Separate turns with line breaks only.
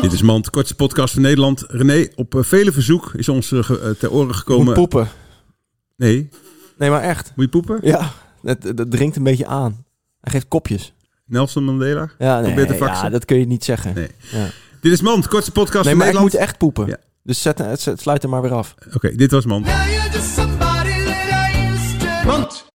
Dit is Mand, kortste podcast van Nederland. René, op eh, vele verzoek is ons eh, ge- eh, ter oren
Moet
gekomen...
poepen.
Nee,
Nee, maar echt.
moet je poepen?
Ja, het, het dringt een beetje aan. Hij geeft kopjes.
Nelson Mandela?
Ja, nee,
Probeer te faxen.
ja dat kun je niet zeggen.
Nee.
Nee,
Dit is Mand, kortste podcast
maar
van
ik moet
Nederland.
echt poepen.
Ja.
Dus zet, zet- sluit hem maar weer af.
Oké, dit was Mand.
Now you're just somebody that I used to.